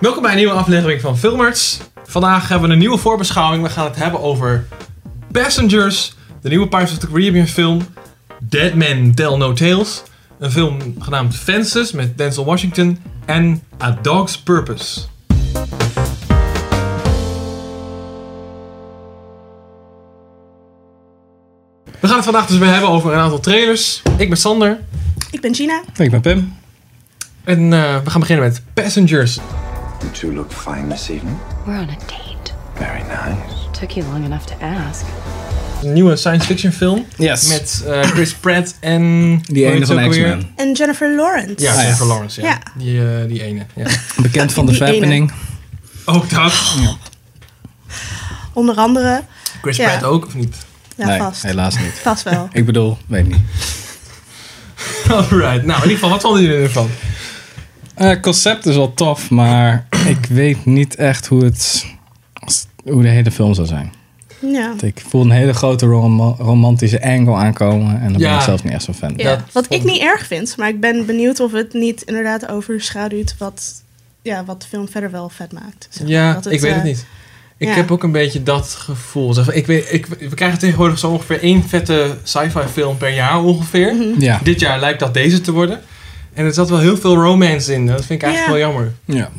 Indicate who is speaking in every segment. Speaker 1: Welkom bij een nieuwe aflevering van Filmers. Vandaag hebben we een nieuwe voorbeschouwing. We gaan het hebben over Passengers, de nieuwe Pirates of the Caribbean film Dead Men Tell No Tales, een film genaamd Fences met Denzel Washington en A Dog's Purpose. We gaan het vandaag dus weer hebben over een aantal trailers. Ik ben Sander
Speaker 2: Ik ben Gina.
Speaker 3: Ik ben Pim.
Speaker 1: en eh, we gaan beginnen met Passengers.
Speaker 4: You two look fine this evening.
Speaker 5: We're on a date.
Speaker 4: Very nice.
Speaker 5: Took you long enough to ask.
Speaker 1: Een nieuwe science fiction film.
Speaker 3: Yes.
Speaker 1: Met eh, Chris Pratt en...
Speaker 3: die
Speaker 1: hoe
Speaker 3: ene
Speaker 1: heet ze
Speaker 3: van
Speaker 1: ook alweer?
Speaker 3: X-Men. Ah,
Speaker 2: En Jennifer Lawrence.
Speaker 1: Ja,
Speaker 3: ja.
Speaker 1: Jennifer Lawrence, ja.
Speaker 2: Ja.
Speaker 1: Die, eh, die ene, ja.
Speaker 3: Bekend van de
Speaker 2: Die ene.
Speaker 3: Fappening.
Speaker 1: Ook dat.
Speaker 2: Onder andere.
Speaker 1: Chris
Speaker 2: Ja.
Speaker 1: Pratt ook, of niet?
Speaker 2: Ja,
Speaker 3: nee,
Speaker 2: vast.
Speaker 3: helaas niet.
Speaker 2: Vast wel.
Speaker 3: Ik bedoel, weet niet.
Speaker 1: Alright. Nou, in ieder geval, wat vonden jullie ervan?
Speaker 3: Eh, concept is wel tof, maar ik weet niet echt hoe het... Hoe de hele film zou zijn.
Speaker 2: Ja.
Speaker 3: Want Ik voel een hele grote rom- romantische angle aankomen. En daar
Speaker 1: Ja.
Speaker 3: ben ik zelf niet echt zo'n fan van.
Speaker 2: Ja.
Speaker 1: Dat
Speaker 2: Wat
Speaker 1: vond
Speaker 2: ik niet erg vind, maar ik ben benieuwd of het niet inderdaad overschaduwt wat, ja, wat de film verder wel vet maakt. zeg maar.
Speaker 1: Ja,
Speaker 2: Dat
Speaker 1: ik weet het
Speaker 2: eh,
Speaker 1: niet. Ik
Speaker 2: ja.
Speaker 1: heb ook een beetje dat gevoel. Zeg, Ik weet, ik, we krijgen tegenwoordig zo ongeveer één vette sci-fi film per jaar ongeveer.
Speaker 2: Mhm.
Speaker 3: Ja.
Speaker 1: Dit jaar lijkt dat deze te worden. En er zat wel heel veel romance in. Dat vind ik eigenlijk
Speaker 2: Ja.
Speaker 1: wel jammer.
Speaker 3: ja.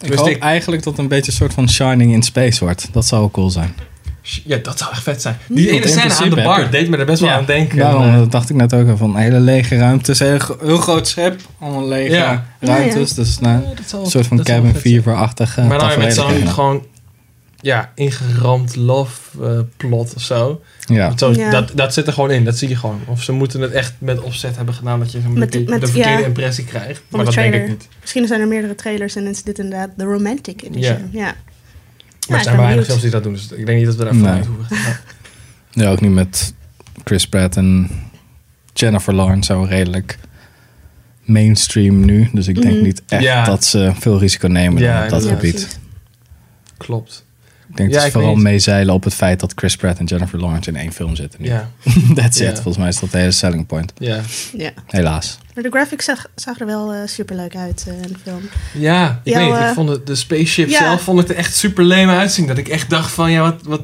Speaker 3: Ik
Speaker 1: Dus
Speaker 3: hoop
Speaker 1: ik-
Speaker 3: eigenlijk dat het een beetje een soort van Shining in Space wordt. Dat zou wel cool zijn.
Speaker 1: Ja, dat zou echt vet zijn. Die ene
Speaker 3: Want in
Speaker 1: scène aan
Speaker 3: principe
Speaker 1: de
Speaker 3: heb
Speaker 1: bar
Speaker 3: je-
Speaker 1: deed me er best wel aan denken.
Speaker 3: Daarom
Speaker 1: En, eh,
Speaker 3: dat dacht ik net ook al van hele lege ruimtes. Heel, gro- heel groot schip. Allemaal lege
Speaker 1: Ja.
Speaker 3: ruimtes. Dus nou,
Speaker 1: ja, dat zal-
Speaker 3: Een soort van
Speaker 1: dat zal
Speaker 3: cabin
Speaker 1: vet zijn.
Speaker 3: 4-achtig.
Speaker 1: Maar dan weer met zo'n gewoon ja, ingeramd love eh, plot of zo.
Speaker 3: Ja.
Speaker 1: Want zo
Speaker 2: Ja.
Speaker 1: dat, dat zit er gewoon in, dat zie je gewoon. Of ze moeten het echt met opzet hebben gedaan dat je zo'n
Speaker 2: Met-
Speaker 1: beetje de,
Speaker 2: met-
Speaker 1: verkeerde
Speaker 2: ja.
Speaker 1: impressie krijgt.
Speaker 2: de
Speaker 1: Maar dat denk ik
Speaker 2: trailer.
Speaker 1: niet.
Speaker 2: Misschien zijn er meerdere trailers en is dit inderdaad de romantic edition. Ja.
Speaker 1: Maar er
Speaker 2: ik ben
Speaker 1: zijn weinig
Speaker 2: benieuwd.
Speaker 1: films die dat doen, dus ik denk niet dat we daar
Speaker 3: Nee.
Speaker 1: vanuit hoeven. Ja.
Speaker 3: ja, ook nu met Chris Pratt en Jennifer Lawrence zo redelijk mainstream nu. Dus ik denk
Speaker 2: Mhm.
Speaker 3: niet echt
Speaker 1: Ja.
Speaker 3: dat ze veel risico nemen
Speaker 1: Ja,
Speaker 3: op dat
Speaker 1: inderdaad.
Speaker 3: gebied.
Speaker 2: precies.
Speaker 1: Klopt.
Speaker 3: Ik denk
Speaker 1: Ja,
Speaker 3: dat ze
Speaker 1: ik
Speaker 3: vooral
Speaker 1: weet.
Speaker 3: meezeilen op het feit dat Chris Pratt en Jennifer Lawrence in één film zitten nu.
Speaker 1: Ja.
Speaker 3: That's
Speaker 1: Ja.
Speaker 3: it. Volgens mij is dat de hele selling point.
Speaker 1: Ja.
Speaker 2: Ja.
Speaker 3: Helaas.
Speaker 2: Maar de graphics zag, zag er wel eh, superleuk uit eh, in de film.
Speaker 1: ja, ik
Speaker 2: Jouw,
Speaker 1: weet niet. Ik
Speaker 2: eh,
Speaker 1: vond het, de spaceship
Speaker 2: ja.
Speaker 1: zelf vond het er echt super lame uitzien. Dat ik echt dacht van, ja, wat, wat...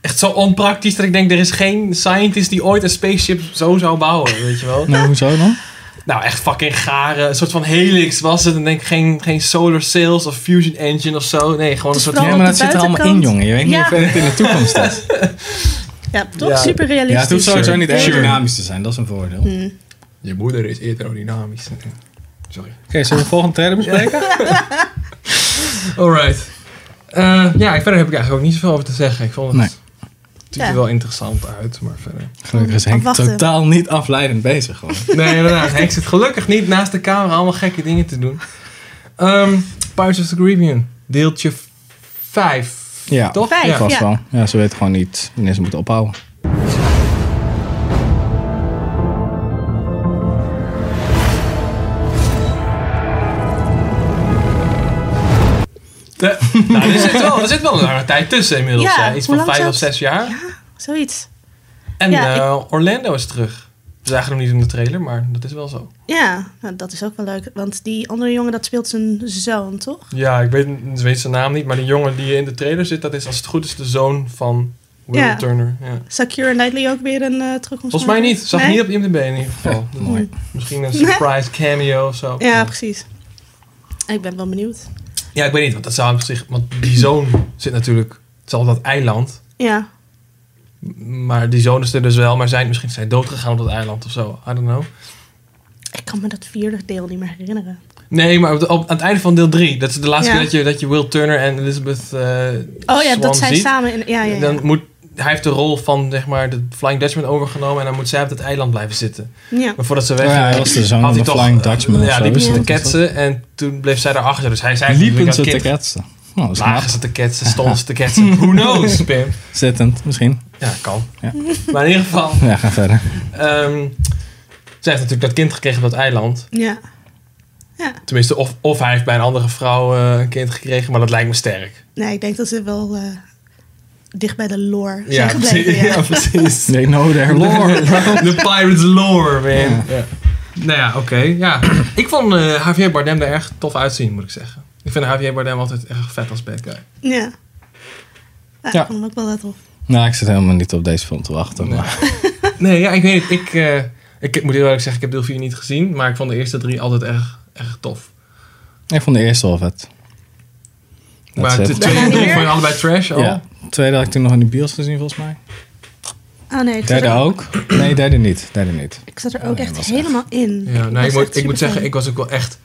Speaker 1: Echt zo onpraktisch dat ik denk, er is geen scientist die ooit een spaceship zo zou bouwen, weet je wel.
Speaker 3: Nou, hoezo dan?
Speaker 1: Nou, echt fucking garen. Een soort van helix was het. En denk ik, geen, geen solar sails of fusion engine of zo. Nee, gewoon een
Speaker 2: Het
Speaker 1: soort
Speaker 2: is vooral
Speaker 3: Ja,
Speaker 2: op
Speaker 3: maar
Speaker 2: de
Speaker 3: dat zit er allemaal in,
Speaker 2: buitenkant.
Speaker 3: jongen. Je weet niet
Speaker 2: Ja.
Speaker 3: hoe ver het in de toekomst is.
Speaker 2: Ja, toch
Speaker 1: Ja.
Speaker 2: super realistisch.
Speaker 3: Ja, het hoeft sowieso niet
Speaker 1: Sure.
Speaker 3: aerodynamisch te zijn. Dat is een voordeel. Oké,
Speaker 1: Je moeder is aerodynamisch. Sorry.
Speaker 3: zullen we de volgende trailer bespreken?
Speaker 1: Alright. Eh, ja, ik- verder heb ik eigenlijk ook niet zoveel over te zeggen. Ik vond het...
Speaker 3: Nee.
Speaker 1: Het ziet er
Speaker 2: Ja.
Speaker 1: wel interessant uit, maar verder...
Speaker 3: Gelukkig is Henk
Speaker 2: Afwachten.
Speaker 3: totaal niet afleidend bezig. Gewoon.
Speaker 1: Nee, inderdaad. Henk zit gelukkig niet naast de camera allemaal gekke dingen te doen. Ehm Pirates of the Caribbean. Deeltje 5.
Speaker 3: Ja.
Speaker 1: Toch?
Speaker 2: Vijf,
Speaker 1: Ja.
Speaker 3: Vast
Speaker 2: Ja.
Speaker 3: wel. Ja, ze weten gewoon niet wanneer ze moeten ophouden.
Speaker 1: Eh, nou, er, zit wel, er zit wel een lange tijd tussen inmiddels.
Speaker 2: Ja,
Speaker 1: hè. Iets
Speaker 2: hoe
Speaker 1: van
Speaker 2: lang
Speaker 1: vijf
Speaker 2: zat-
Speaker 1: of zes jaar.
Speaker 2: Zoiets.
Speaker 1: En
Speaker 2: Ja,
Speaker 1: eh, Orlando is terug. We zagen hem niet in de trailer, maar dat is wel zo.
Speaker 2: Ja, nou, dat is ook wel leuk. Want die andere jongen, dat speelt zijn zoon, toch?
Speaker 1: Ja, ik weet, ik weet zijn naam niet, maar die jongen die in de trailer zit, dat is als het goed is de zoon van Will
Speaker 2: Ja.
Speaker 1: Turner. Ja.
Speaker 2: Sakura Knightley ook weer een eh terugkomst?
Speaker 1: Volgens mij
Speaker 2: maken?
Speaker 1: niet. Zag
Speaker 2: Nee?
Speaker 1: niet op IMDb in ieder geval. Dus
Speaker 3: Mooi.
Speaker 1: Misschien een surprise cameo of zo.
Speaker 2: Ja, precies. Ik ben wel benieuwd.
Speaker 1: Ja, ik weet niet, want dat zou op zich... Want die zoon zit natuurlijk... Het zal op dat eiland.
Speaker 2: Ja,
Speaker 1: Maar die zoon is er dus wel, maar zijn misschien zijn doodgegaan op dat eiland of zo. I don't know.
Speaker 2: ik kan me dat vierde deel niet meer herinneren.
Speaker 1: Nee, maar op de- op- aan het einde van deel 3, dat is de laatste
Speaker 2: Ja.
Speaker 1: keer dat je, dat je Will Turner en Elizabeth eh
Speaker 2: Oh ja,
Speaker 1: Swan
Speaker 2: dat zij
Speaker 1: ziet.
Speaker 2: samen in... Ja, ja, ja.
Speaker 1: Dan moet, hij heeft de rol van zeg maar, de Flying Dutchman overgenomen en dan moet zij op dat eiland blijven zitten.
Speaker 2: ja.
Speaker 1: Maar voordat ze weg
Speaker 3: Oh Ja, hij was de zoon
Speaker 1: eh, had
Speaker 3: van de
Speaker 1: toch- eh,
Speaker 3: Flying Dutchman. of
Speaker 1: Ja,
Speaker 3: zo,
Speaker 1: liepen
Speaker 3: is
Speaker 1: ze te
Speaker 3: dat het?
Speaker 1: ketsen en toen bleef zij daarachter. Dus hij zei
Speaker 3: Liepen
Speaker 1: natuurlijk
Speaker 3: ze
Speaker 1: als
Speaker 3: te
Speaker 1: kind,
Speaker 3: ketsen. Nou, dat is
Speaker 1: Lagen
Speaker 3: knap.
Speaker 1: ze te ketsen, stonden ze te ketsen. Who knows, Pim?
Speaker 3: Zittend, misschien.
Speaker 1: Ja, kan.
Speaker 3: Ja.
Speaker 1: Maar in ieder geval,
Speaker 3: Ja, ga verder.
Speaker 1: ehm, zij heeft natuurlijk dat kind gekregen op dat eiland.
Speaker 2: ja.
Speaker 1: Tenminste, of, of hij heeft bij een andere vrouw eh, een kind gekregen, maar dat lijkt me sterk.
Speaker 2: Nee, ik denk dat ze wel eh, dicht bij de lore
Speaker 1: Ja,
Speaker 2: zijn gebleven.
Speaker 1: precies.
Speaker 2: Ja.
Speaker 1: Ja, precies.
Speaker 3: They know their lore.
Speaker 1: De Pirates lore, man. Nou ja, oké. ja. Ik vond eh Javier Bardem er erg tof uitzien, moet ik zeggen. Ik vind Javier Bardem altijd erg vet als bad guy.
Speaker 2: Ja. Ja,
Speaker 3: Ja.
Speaker 2: ik vond hem ook wel let op.
Speaker 3: Nou, ik zit helemaal niet op deze film te wachten.
Speaker 1: Nee.
Speaker 3: Maar
Speaker 1: Nee, ja, ik weet het. Ik, eh, ik moet heel eerlijk zeggen, ik heb deel 4 niet gezien. Maar ik vond de eerste drie altijd erg, erg tof.
Speaker 3: ik vond de eerste al vet. Dat
Speaker 1: maar oh.
Speaker 3: is
Speaker 1: de
Speaker 3: het.
Speaker 1: tweede en
Speaker 2: Weer?
Speaker 1: drie vond je allebei trash al.
Speaker 3: Ja. Tweede had ik toen nog in de bios gezien, volgens mij.
Speaker 2: Oh nee, ik zat,
Speaker 3: Derde
Speaker 2: er,
Speaker 3: ook? Nee, derde niet. Derde niet.
Speaker 2: ik zat er
Speaker 3: Oh,
Speaker 2: ook
Speaker 3: nee,
Speaker 2: echt
Speaker 3: was echt-
Speaker 2: helemaal in.
Speaker 1: Ja, nou, ik
Speaker 2: was
Speaker 1: moet, ik
Speaker 2: echt
Speaker 1: moet
Speaker 2: superfan.
Speaker 1: zeggen, ik was ook wel echt,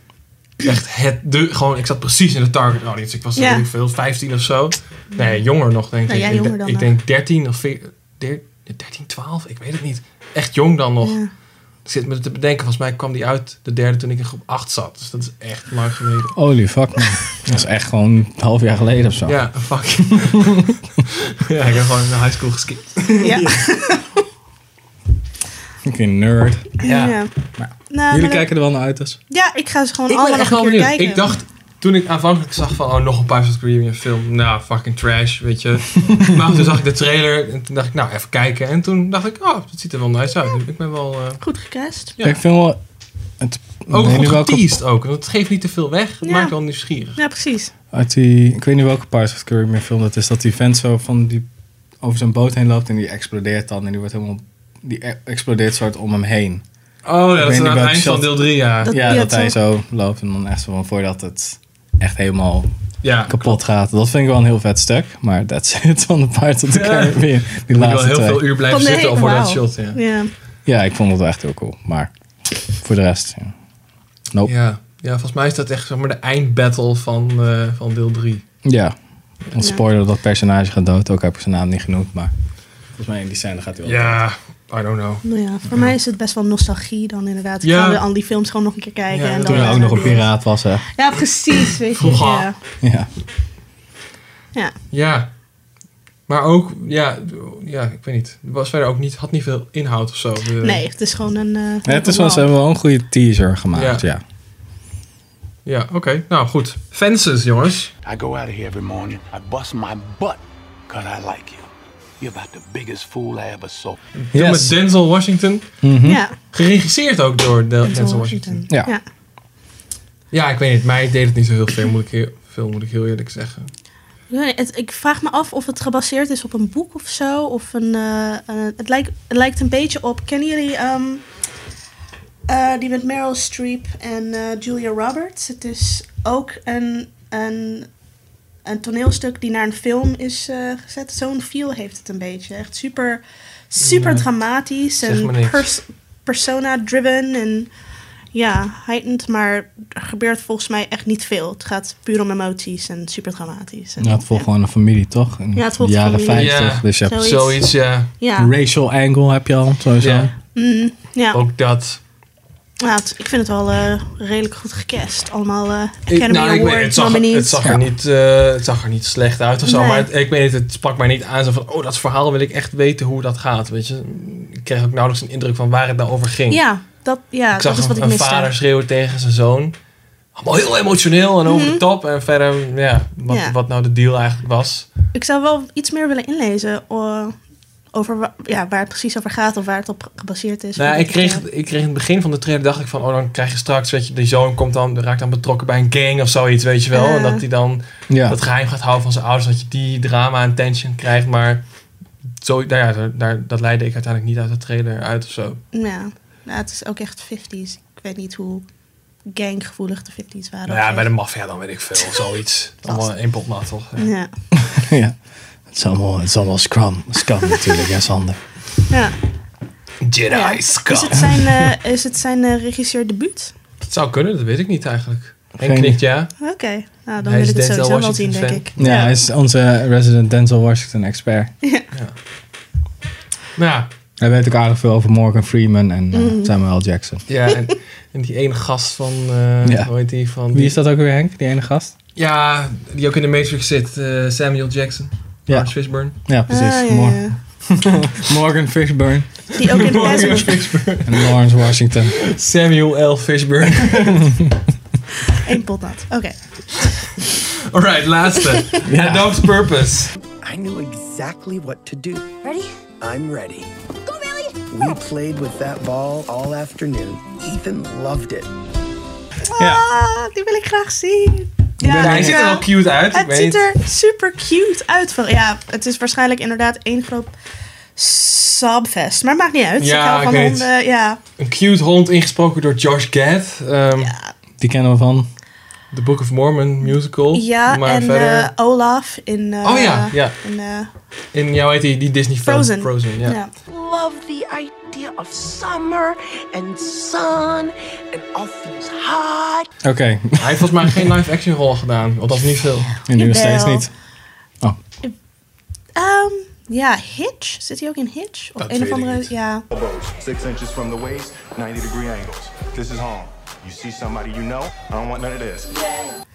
Speaker 1: echt het, de, gewoon, ik zat precies in de target audience. Ik was,
Speaker 2: Ja.
Speaker 1: weet ik veel, 15 of zo. Nee, jonger nog, denk
Speaker 2: Nou,
Speaker 1: ik.
Speaker 2: jij
Speaker 1: ik,
Speaker 2: jonger dan
Speaker 1: ik
Speaker 2: nog.
Speaker 1: denk 13 of veer- der- 13, 12, ik weet het niet. Echt jong dan nog.
Speaker 2: Ja.
Speaker 1: Ik zit me te bedenken, volgens mij kwam die uit de derde toen ik in groep 8 zat. Dus dat is echt lang geleden.
Speaker 3: Holy fuck man. Dat is echt gewoon een half jaar geleden of zo.
Speaker 1: Ja, fuck. ja, ik heb gewoon naar high school geskipt.
Speaker 2: Ja.
Speaker 3: Fucking nerd.
Speaker 1: Ja.
Speaker 2: Ja.
Speaker 3: Maar
Speaker 2: Nou,
Speaker 3: Jullie
Speaker 2: maar-
Speaker 3: kijken er wel naar uit dus?
Speaker 2: Ja, ik ga ze gewoon
Speaker 1: Ik ben
Speaker 2: allemaal
Speaker 1: echt
Speaker 2: nog
Speaker 1: wel
Speaker 2: een keer
Speaker 1: benieuwd.
Speaker 2: kijken.
Speaker 1: Ik dacht, toen ik aanvankelijk zag van, oh, nog een Pirates of the Caribbean film. Nou, fucking trash, weet je. maar toen zag ik de trailer en toen dacht ik, nou, even kijken. En toen dacht ik, oh, dat ziet er wel nice uit. Dus Ik ben wel... eh,
Speaker 2: Goed gecast.
Speaker 1: Ja.
Speaker 3: Ik vind wel... Het, ik
Speaker 1: ook
Speaker 3: weet
Speaker 1: goed
Speaker 3: niet welke-
Speaker 1: geteased ook, want het geeft niet te veel weg. Het
Speaker 2: Ja.
Speaker 1: maakt wel nieuwsgierig.
Speaker 2: Ja, precies.
Speaker 3: Uit die, ik weet niet welke Pirates of the Caribbean film dat is. Dat die vent zo van die over zijn boot heen loopt en die explodeert dan. En die wordt helemaal... Die e- explodeert soort om hem heen.
Speaker 1: Oh, ja, dat
Speaker 3: weet
Speaker 1: is
Speaker 3: niet
Speaker 1: aan het
Speaker 3: welke
Speaker 1: eind van
Speaker 3: shot.
Speaker 1: deel 3, ja.
Speaker 2: Dat-
Speaker 3: ja,
Speaker 2: ja,
Speaker 3: dat hij zo loopt en dan echt zo van voordat het echt helemaal
Speaker 1: ja.
Speaker 3: kapot gaat. Dat vind ik wel een heel vet stuk. Maar that's it van de Pirates of the
Speaker 1: Ja.
Speaker 3: Caribbean. Die
Speaker 1: Ik moet wel
Speaker 3: laatste
Speaker 1: heel
Speaker 3: twee.
Speaker 1: veel uur blijven
Speaker 2: Van de
Speaker 1: zitten
Speaker 2: hele-
Speaker 1: voor dat
Speaker 2: wauw.
Speaker 1: shot, ja.
Speaker 2: Ja.
Speaker 3: Ja, ik vond het wel echt heel cool. Maar voor de rest... Ja. Nope.
Speaker 1: Ja. ja, volgens mij is dat echt zeg maar, de eindbattle van, eh, van deel 3.
Speaker 3: Ja. Want
Speaker 2: Ja.
Speaker 3: spoiler, dat personage gaat dood. Ook heb ik zijn naam niet genoemd, maar... Volgens mij in die scène gaat hij wel dood.
Speaker 1: Ja, I don't know.
Speaker 2: Nou ja, voor mij is het best wel nostalgie dan inderdaad. Ik
Speaker 1: Ja.
Speaker 2: ga weer al die films gewoon nog een keer kijken.
Speaker 1: Ja,
Speaker 2: en
Speaker 1: dat
Speaker 2: dan
Speaker 3: Toen hij ook nog een piraat was, hè.
Speaker 2: Ja, precies. Weet je.
Speaker 1: Vroeger.
Speaker 2: Ja.
Speaker 3: Ja.
Speaker 2: ja.
Speaker 1: Ja. Maar ook, ja, ja, ik weet niet. Was verder ook niet, had niet veel inhoud of zo. Dus, eh, De-
Speaker 2: Nee, het is gewoon een... eh,
Speaker 3: Ja, het is wel, ze
Speaker 2: wauw.
Speaker 3: hebben wel een goede teaser gemaakt, ja.
Speaker 1: Ja, oké. Nou, goed. Fences, jongens.
Speaker 6: I go out of here every morning. I bust my butt because I like you. You're about the biggest fool I ever saw.
Speaker 1: Film
Speaker 3: Yes.
Speaker 1: Met Denzel Washington.
Speaker 3: mhm.
Speaker 2: Ja,
Speaker 1: Geregisseerd ook door Del- Denzel,
Speaker 2: Denzel
Speaker 1: Washington.
Speaker 2: Washington.
Speaker 3: Ja.
Speaker 2: ja.
Speaker 1: Ja, ik weet niet. Mij deed het niet zo heel veel, moet ik heel, veel, moet ik heel eerlijk zeggen.
Speaker 2: Ik weet niet, het- ik vraag me af of het gebaseerd is op een boek of zo. Of een, eh, eh, het, lijkt, het lijkt een beetje op. Kennen jullie ehm, eh, die met Meryl Streep en eh, Julia Roberts? Het is ook een, een, een toneelstuk die naar een film is eh, gezet. Zo'n feel heeft het een beetje. Echt super, super
Speaker 1: Nee.
Speaker 2: dramatisch
Speaker 1: Zeg me
Speaker 2: en
Speaker 1: niks.
Speaker 2: pers- persona-driven. En ja, heightened, maar er gebeurt volgens mij echt niet veel. Het gaat puur om emoties en super dramatisch. En,
Speaker 3: Ja, het volgt
Speaker 2: ja.
Speaker 3: gewoon een familie, toch? In
Speaker 2: Ja, het volgt
Speaker 3: de jaren
Speaker 2: familie.
Speaker 3: 50.
Speaker 1: Ja.
Speaker 3: Dus je hebt
Speaker 2: Zoiets.
Speaker 1: Zoiets, ja.
Speaker 2: Ja,
Speaker 3: een racial angle heb je al, sowieso.
Speaker 1: Ja.
Speaker 2: mm, ja.
Speaker 1: Ook dat.
Speaker 2: ja het- ik vind het wel eh, redelijk goed gecast. Allemaal eh,
Speaker 1: Ik-
Speaker 2: Academy
Speaker 1: nou, ik weet-
Speaker 2: Award
Speaker 1: het, zag,
Speaker 2: nominees.
Speaker 1: het, zag er
Speaker 3: Ja.
Speaker 1: niet, eh, het zag er niet slecht uit of zo.
Speaker 2: Nee.
Speaker 1: Maar het- ik weet niet, het sprak mij niet aan. Zo van, oh, dat verhaal wil ik echt weten hoe dat gaat. Weet je? Ik kreeg ook nauwelijks een indruk van waar het nou over ging.
Speaker 2: Ja, dat, ja,
Speaker 1: ik zag
Speaker 2: dat is
Speaker 1: een,
Speaker 2: wat ik
Speaker 1: een
Speaker 2: miste.
Speaker 1: vader schreeuwen tegen zijn zoon. Allemaal heel emotioneel en over de top. En verder, ja, wat,
Speaker 2: Mhm. Ja.
Speaker 1: wat nou de deal eigenlijk was.
Speaker 2: Ik zou wel iets meer willen inlezen eh, over wa- ja, waar het precies over gaat of waar het op gebaseerd is.
Speaker 1: Nou, ja,
Speaker 2: Hoe
Speaker 1: ik
Speaker 2: dat,
Speaker 1: kreeg,
Speaker 2: eh,
Speaker 1: ik kreeg in het begin van de trailer, dacht ik van, oh, dan krijg je straks, weet je, die zoon komt dan, raakt dan betrokken bij een gang of zoiets, weet je wel. En
Speaker 2: Eh.
Speaker 1: dat hij dan
Speaker 3: Ja.
Speaker 1: dat geheim gaat houden van zijn ouders, dat je die drama en tension krijgt. Maar zo, nou ja, daar, daar- dat leidde ik uiteindelijk niet uit de trailer uit of
Speaker 2: Ah,
Speaker 1: zo.
Speaker 2: ja, nou, het is ook echt 50s. Ik weet niet hoe ganggevoelig de 50s waren.
Speaker 1: Nou
Speaker 2: of
Speaker 1: ja,
Speaker 2: zo.
Speaker 1: bij de maffia dan weet ik veel, zoiets. Allemaal één pot nat, toch? Ja.
Speaker 2: Ja.
Speaker 3: ja. Het is allemaal, het is allemaal scrum. Scum natuurlijk, hè Sander.
Speaker 2: ja. Ja.
Speaker 1: Jedi
Speaker 2: Is
Speaker 1: scum.
Speaker 2: het zijn, eh, is het zijn eh, regisseurdebuut?
Speaker 1: Dat zou kunnen, dat weet ik niet eigenlijk. En
Speaker 3: Geen-
Speaker 1: knikt ja.
Speaker 2: Oké, nou dan
Speaker 1: Hij
Speaker 2: wil
Speaker 1: is
Speaker 2: ik het
Speaker 1: Denzel
Speaker 2: sowieso wel zien,
Speaker 1: Washington
Speaker 2: denk
Speaker 1: fan.
Speaker 2: ik.
Speaker 3: Ja, hij is onze resident Denzel Washington expert.
Speaker 1: Nou ja,
Speaker 3: Hij weet ook aardig veel over Morgan Freeman en eh,
Speaker 2: Mm.
Speaker 3: Samuel L. Jackson.
Speaker 1: Ja, en, en die ene gast van, eh
Speaker 3: Ja.
Speaker 1: hoe heet die? Van
Speaker 3: Wie
Speaker 1: die-
Speaker 3: is dat ook weer, Henk? Die ene gast?
Speaker 1: Ja, die ook in de Matrix zit, eh, Samuel Jackson.
Speaker 3: Ja.
Speaker 1: Lawrence Fishburne.
Speaker 3: Ja, precies.
Speaker 2: Ah, ja,
Speaker 3: Mor-
Speaker 2: ja.
Speaker 3: Morgan Fishburne
Speaker 2: Die ook in de Passenger.
Speaker 3: en Lawrence Washington.
Speaker 1: Samuel L. Fishburne.
Speaker 2: Eén pot nat. Oké.
Speaker 1: Alright, laatste.
Speaker 3: Ja.
Speaker 1: Adult Purpose.
Speaker 7: I knew exactly what to do.
Speaker 8: Ready?
Speaker 7: I'm ready.
Speaker 8: Go, Billy!
Speaker 7: We played with that ball all afternoon. Ethan loved it.
Speaker 3: Ja.
Speaker 2: Ah, die wil ik graag zien. Ja,
Speaker 1: Hij ziet er
Speaker 2: ja.
Speaker 1: wel cute uit. ik
Speaker 2: Het
Speaker 1: weet
Speaker 2: ziet
Speaker 1: niet.
Speaker 2: er super cute uit. Van, ja, het is waarschijnlijk inderdaad één groot sabfest. Maar maakt niet uit.
Speaker 1: Ja,
Speaker 2: ik hou
Speaker 1: ik
Speaker 2: van
Speaker 1: weet.
Speaker 2: honden. Ja,
Speaker 1: Een cute hond ingesproken door Josh Gad. ehm,
Speaker 3: Die kennen we van.
Speaker 1: The Book of Mormon musical.
Speaker 2: ja
Speaker 1: maar
Speaker 2: en
Speaker 1: verder...
Speaker 2: eh, Olaf in... eh,
Speaker 1: Oh ja, ja.
Speaker 2: In, eh,
Speaker 1: in jouw heet die, die Disney film.
Speaker 2: Frozen.
Speaker 1: Frozen, ja.
Speaker 2: ja.
Speaker 8: love the idea of summer and sun and all things hot.
Speaker 3: Oké,
Speaker 1: Hij heeft volgens mij geen live action rol gedaan. Althans niet veel.
Speaker 3: en nu nog
Speaker 2: Jawel.
Speaker 3: steeds niet. Oh,
Speaker 2: Ehm, ja, Hitch. Zit hij ook in Hitch? Of een of andere... Ja.
Speaker 9: elbows, six inches from the waist, 90 degree angles. This is home. You see somebody you know, I don't want none of this.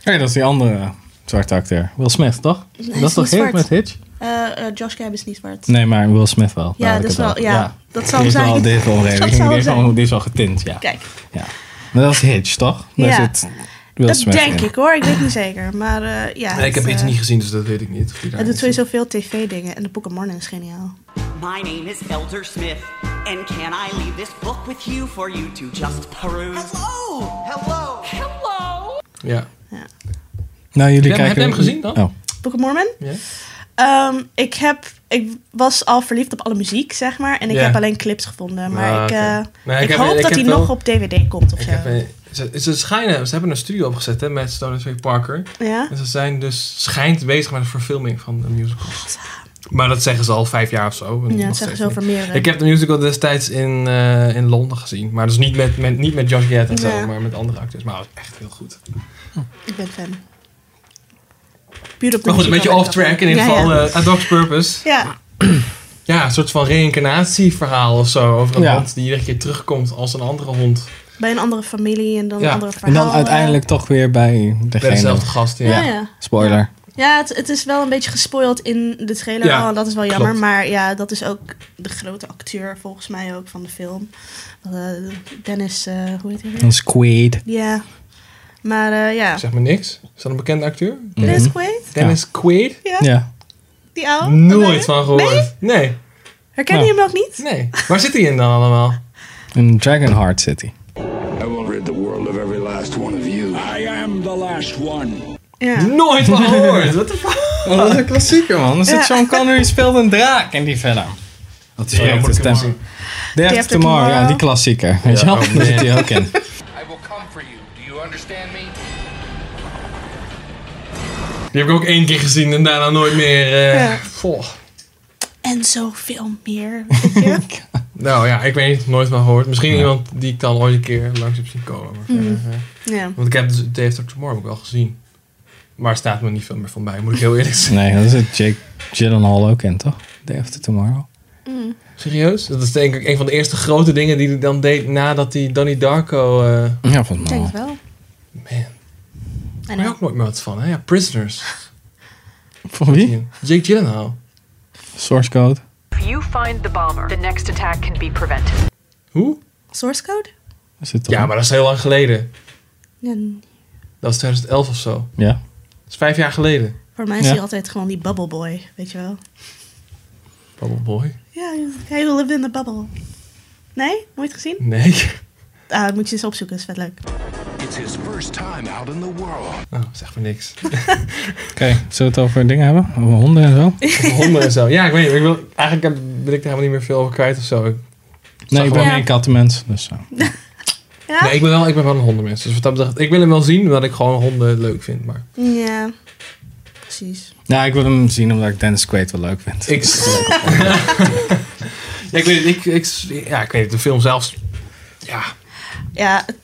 Speaker 3: hey, dat is die andere zwarte acteur. Will Smith, toch? dat
Speaker 2: is
Speaker 3: is toch
Speaker 2: niet
Speaker 3: Hitch
Speaker 2: zwart.
Speaker 3: met Hitch?
Speaker 2: Eh, eh, Josh Gab is niet zwart.
Speaker 3: Nee, maar Will Smith wel.
Speaker 2: Ja,
Speaker 3: daar had
Speaker 2: dat
Speaker 3: ik
Speaker 2: is
Speaker 3: het
Speaker 2: wel...
Speaker 3: over.
Speaker 2: Ja, dat zou
Speaker 3: Die
Speaker 2: hem
Speaker 3: is wel
Speaker 2: zijn.
Speaker 3: dit wel redelijk.
Speaker 2: Dat
Speaker 3: Die,
Speaker 2: zou hem
Speaker 3: is
Speaker 2: zijn.
Speaker 3: wel- die is wel getint, ja.
Speaker 2: Kijk,
Speaker 3: ja. Maar dat is Hitch, toch? Daar
Speaker 2: Ja.
Speaker 3: zit Will
Speaker 2: dat
Speaker 3: Smith
Speaker 2: denk
Speaker 3: in.
Speaker 2: ik hoor. Ik weet niet zeker. Maar eh, ja...
Speaker 1: Nee, ik heb
Speaker 2: het,
Speaker 1: iets
Speaker 2: eh,
Speaker 1: niet gezien, dus dat weet ik niet. of die daar
Speaker 2: Hij doet
Speaker 1: in zit.
Speaker 2: sowieso veel tv-dingen. En de Book of Mormon is geniaal.
Speaker 10: My name is Elder Smith, and can I leave this book with you for you to just peruse?
Speaker 8: Hello! Hello! Hello!
Speaker 1: Ja.
Speaker 3: Nou, jullie
Speaker 1: Heb je hem-
Speaker 3: kijken...
Speaker 1: heb je hem gezien dan?
Speaker 3: Oh,
Speaker 2: Book of Mormon?
Speaker 1: Ja.
Speaker 2: Ehm, ik, heb, ik was al verliefd op alle muziek, zeg maar. En ik
Speaker 1: Ja.
Speaker 2: heb alleen clips gevonden. Maar
Speaker 1: Ah,
Speaker 2: ik,
Speaker 1: oké.
Speaker 2: eh,
Speaker 1: Nee, ik
Speaker 2: ik,
Speaker 1: heb-
Speaker 2: hoop
Speaker 1: ik
Speaker 2: dat
Speaker 1: heb
Speaker 2: die
Speaker 1: wel-
Speaker 2: nog op DVD komt of
Speaker 1: Ik
Speaker 2: zo.
Speaker 1: heb, eh, ze, ze schijnen, ze hebben een studio opgezet hè, met Stoner Trey Parker.
Speaker 2: Ja?
Speaker 1: En ze zijn dus schijnt bezig met een verfilming van een musical. Maar dat zeggen ze al vijf jaar of zo. en
Speaker 2: Ja,
Speaker 1: nog
Speaker 2: dat zeggen
Speaker 1: steeds
Speaker 2: ze over
Speaker 1: niet.
Speaker 2: meerdere.
Speaker 1: Ik heb de musical destijds in, eh, in Londen gezien. Maar dus niet met, met, niet met Josh Gad en zo,
Speaker 2: Ja.
Speaker 1: maar met andere acteurs. Maar dat was echt heel goed.
Speaker 2: Ik ben fan. Puur op de
Speaker 1: Maar goed, een
Speaker 2: muziek
Speaker 1: beetje
Speaker 2: al
Speaker 1: off
Speaker 2: ben ik al
Speaker 1: track. In
Speaker 2: fan.
Speaker 1: ieder geval,
Speaker 2: Ja, Ja,
Speaker 1: eh, A Dog's Purpose.
Speaker 2: ja.
Speaker 1: Ja, een soort van reïncarnatieverhaal of zo. Over een
Speaker 3: Ja.
Speaker 1: hond die iedere keer terugkomt als een andere hond.
Speaker 2: bij een andere familie en dan
Speaker 1: Ja.
Speaker 2: een andere
Speaker 3: en
Speaker 2: verhalen.
Speaker 3: dan uiteindelijk toch weer bij
Speaker 1: Bij
Speaker 3: degene.
Speaker 1: dezelfde gast. Ja.
Speaker 2: Ja, ja.
Speaker 3: Spoiler.
Speaker 2: ja het, het is wel een beetje gespoild in de trailer.
Speaker 1: Ja,
Speaker 2: oh, dat is wel jammer.
Speaker 1: klopt.
Speaker 2: Maar ja, dat is ook de grote acteur volgens mij ook van de film. Eh, Dennis, eh, hoe heet hij? weer?
Speaker 3: Een squid.
Speaker 2: Ja. Maar eh, ja.
Speaker 1: Zeg maar niks. Is dat een bekende acteur?
Speaker 2: Dennis Quaid?
Speaker 1: Dennis Quaid?
Speaker 2: Mhm. Ja.
Speaker 3: Ja.
Speaker 2: Die oude?
Speaker 1: Nooit van
Speaker 2: Nee?
Speaker 1: gehoord. Nee.
Speaker 2: Herken je
Speaker 3: Nou.
Speaker 2: hem ook niet?
Speaker 1: Nee. Waar zit hij in dan allemaal?
Speaker 3: In Dragonheart City.
Speaker 6: I will rid the world of every last one of you. I am the last one.
Speaker 2: Ja.
Speaker 1: Nooit van gehoord. Wat de fuck?
Speaker 3: Oh, dat is een klassieker, man. Er zit
Speaker 2: Ja.
Speaker 3: Sean Connery speelt een draak in die film. Wat is
Speaker 1: Ja,
Speaker 3: het?
Speaker 1: moet ik hem
Speaker 3: Day
Speaker 1: zien.
Speaker 3: After
Speaker 2: After
Speaker 3: Tomorrow.
Speaker 2: Tomorrow.
Speaker 3: Ja, die klassieker. Weet je
Speaker 1: Ja,
Speaker 3: wel?
Speaker 1: oh,
Speaker 3: Daar zit
Speaker 1: man.
Speaker 3: hij ook in.
Speaker 9: I will come for you. Do you understand me?
Speaker 1: Die heb ik ook één keer gezien en daarna nooit meer. eh,
Speaker 2: Ja.
Speaker 1: goh.
Speaker 2: En zoveel meer. weet je?
Speaker 1: Nou ja, ik weet niet, nooit van gehoord. Misschien iemand die ik dan ooit een keer langs heb zien komen. maar verder, eh.
Speaker 2: ja.
Speaker 1: Want ik heb dus Day After Tomorrow ook wel gezien. Maar er staat me niet veel meer van bij, moet ik heel eerlijk zijn.
Speaker 3: Nee, dat zit Jake Gyllenhaal ook in, toch? Day After Tomorrow.
Speaker 1: Serieus? Dat is denk ik een van de eerste grote dingen die hij dan deed nadat hij Donnie Darko... eh
Speaker 3: Ja, volgens
Speaker 2: Ik
Speaker 3: mij
Speaker 2: denk
Speaker 3: wel.
Speaker 2: het wel.
Speaker 1: man,
Speaker 2: En eh,
Speaker 1: daar heb ik nooit meer wat van. Hè? Ja, Prisoners.
Speaker 3: Voor wie?
Speaker 1: Jake Gyllenhaal.
Speaker 3: Source Code.
Speaker 5: If you find the bomber, the next attack can be prevented.
Speaker 1: Hoe?
Speaker 2: Source code?
Speaker 3: Daar Zit toch
Speaker 1: Ja,
Speaker 3: in?
Speaker 1: maar dat is heel lang geleden.
Speaker 2: Ja,
Speaker 1: Dat is 2011 of zo.
Speaker 3: Ja.
Speaker 1: Dat is vijf jaar geleden.
Speaker 2: voor mij is hij
Speaker 3: Ja.
Speaker 2: altijd gewoon die bubble boy, weet je wel.
Speaker 1: Bubble Oh, Boy.
Speaker 2: Ja, hij wil live in the bubble. Nee? Nooit gezien?
Speaker 1: Nee.
Speaker 2: Ah, dat moet je eens opzoeken, is vet leuk.
Speaker 6: It's his first time out in the world.
Speaker 1: Oh, zeg maar niks.
Speaker 3: Oké, zullen we het over dingen hebben? Over honden en zo?
Speaker 1: Honden en zo. Ja, ik weet niet. Ik wil, eigenlijk heb- ben ik er helemaal niet meer veel over kwijt of zo. Ik-
Speaker 3: Nee, ik ben
Speaker 1: gewoon-
Speaker 3: geen kattenmens. Dus zo.
Speaker 2: Ja?
Speaker 1: Nee, ik ben wel, ik ben wel een hondenmens. Dus wat dat betreft, ik wil hem wel zien, omdat ik gewoon honden leuk vind. Maar
Speaker 2: Ja. Precies.
Speaker 3: Ja, ik wil hem zien omdat ik Dennis Quaid wel leuk vind.
Speaker 1: ik... ja, ik weet niet. Ik, ik, ja, ik weet niet. De film zelfs... Ja,
Speaker 2: Ja,
Speaker 3: Ik
Speaker 2: is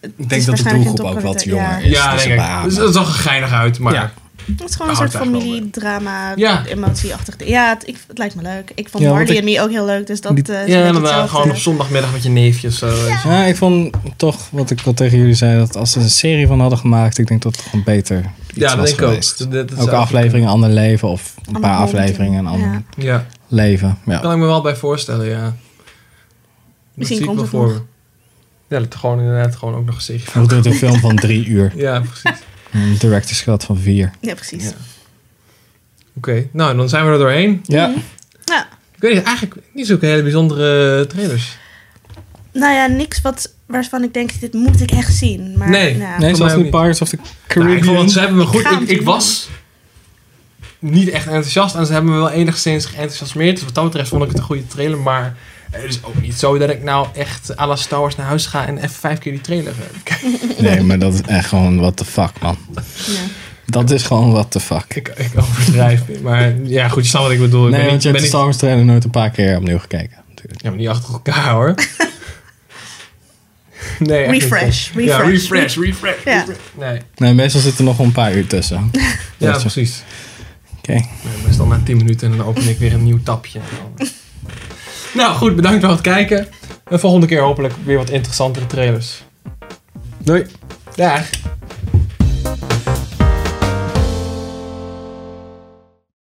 Speaker 3: denk dat de
Speaker 2: waarschijnlijk
Speaker 3: doelgroep
Speaker 2: een
Speaker 3: ook wel
Speaker 2: topkwaliteit,
Speaker 3: te jonger
Speaker 2: ja.
Speaker 3: is.
Speaker 1: ja
Speaker 3: Dus
Speaker 1: denk ik.
Speaker 3: beamen.
Speaker 1: Dus dat zag er geinig uit, maar...
Speaker 3: Ja.
Speaker 2: het is gewoon een
Speaker 1: Daar
Speaker 2: soort
Speaker 1: houdt het eigenlijk
Speaker 2: familiedrama,
Speaker 1: Ja.
Speaker 2: emotieachtig. Ja, het, ik, het lijkt me leuk. Ik vond
Speaker 3: Ja, want
Speaker 2: Marley
Speaker 3: ik-
Speaker 2: en Me ook heel leuk, dus dat
Speaker 3: Die-
Speaker 2: eh, is een
Speaker 1: Ja,
Speaker 2: beetje
Speaker 1: en dan eh, gewoon
Speaker 2: hetzelfde.
Speaker 1: op zondagmiddag met je neefjes. zo.
Speaker 3: Ja, ik vond toch wat ik al tegen jullie zei, dat als ze een serie van hadden gemaakt, ik denk dat het gewoon beter iets
Speaker 1: Ja, dat
Speaker 3: was
Speaker 1: denk ik ook.
Speaker 3: geweest.
Speaker 1: Dat- dat- dat
Speaker 3: ook
Speaker 1: zou-
Speaker 3: afleveringen ander leven of een
Speaker 2: Ander
Speaker 3: paar
Speaker 2: hond.
Speaker 3: afleveringen een ander
Speaker 2: Ja.
Speaker 1: Ja,
Speaker 3: leven. Ja.
Speaker 1: kan ik me wel bij voorstellen, ja. Dat
Speaker 2: Misschien
Speaker 1: zie ik
Speaker 2: komt
Speaker 1: wel
Speaker 2: het
Speaker 1: voor
Speaker 2: nog.
Speaker 1: me. Ja, dat gewoon inderdaad gewoon ook nog een serie
Speaker 3: Dat
Speaker 1: van.
Speaker 3: doet een film van drie uur.
Speaker 1: Ja, precies.
Speaker 3: Een director's cut van vier.
Speaker 2: Ja, precies.
Speaker 1: Ja. Oké, nou dan zijn we er doorheen.
Speaker 3: Ja,
Speaker 2: Ja.
Speaker 1: Ik weet niet, eigenlijk niet zulke hele bijzondere trailers.
Speaker 2: nou ja, niks wat, waarvan ik denk, dit moet ik echt zien. Maar, nou,
Speaker 1: Nee.
Speaker 2: ja.
Speaker 3: nee,
Speaker 1: mij
Speaker 3: zelfs
Speaker 1: ook
Speaker 3: niet
Speaker 1: niet.
Speaker 3: Pirates of the
Speaker 1: Nou,
Speaker 3: Caribbean.
Speaker 1: ik vond, het- ze hebben me goed.
Speaker 2: ga
Speaker 1: Ik,
Speaker 2: hem
Speaker 1: ik
Speaker 2: doen.
Speaker 1: was niet echt enthousiast en ze hebben me wel enigszins geenthousiasmeerd. Dus wat dat betreft vond ik het een goede trailer. Maar het is ook niet zo dat ik nou echt à la Star Wars naar huis ga en even vijf keer die trailer eh, kijk.
Speaker 3: Nee, maar dat is echt gewoon what the fuck, man.
Speaker 2: Ja.
Speaker 3: Dat is gewoon what the fuck.
Speaker 1: Ik, ik overdrijf niet. Maar ja, goed, je snapt wat ik bedoel. Ik
Speaker 3: Nee,
Speaker 1: ben
Speaker 3: want
Speaker 1: niet,
Speaker 3: je
Speaker 1: ben
Speaker 3: hebt de
Speaker 1: niet,
Speaker 3: Star Wars trailer nooit een paar keer opnieuw gekeken. natuurlijk.
Speaker 1: ja, maar niet achter elkaar hoor. Nee, echt niet.
Speaker 2: Refresh,
Speaker 1: Ja,
Speaker 2: refresh.
Speaker 1: refresh, refresh.
Speaker 2: Ja.
Speaker 1: refresh. Nee,
Speaker 3: Nee, meestal zit er nog wel een paar uur tussen.
Speaker 1: ja,
Speaker 3: Dat is-
Speaker 1: precies.
Speaker 3: Oké.
Speaker 1: Nee, meestal na 10 minuten en dan open ik weer een nieuw tapje. En dan- nou goed, bedankt voor het kijken. En volgende keer hopelijk weer wat interessantere trailers.
Speaker 3: Doei.
Speaker 1: Dag.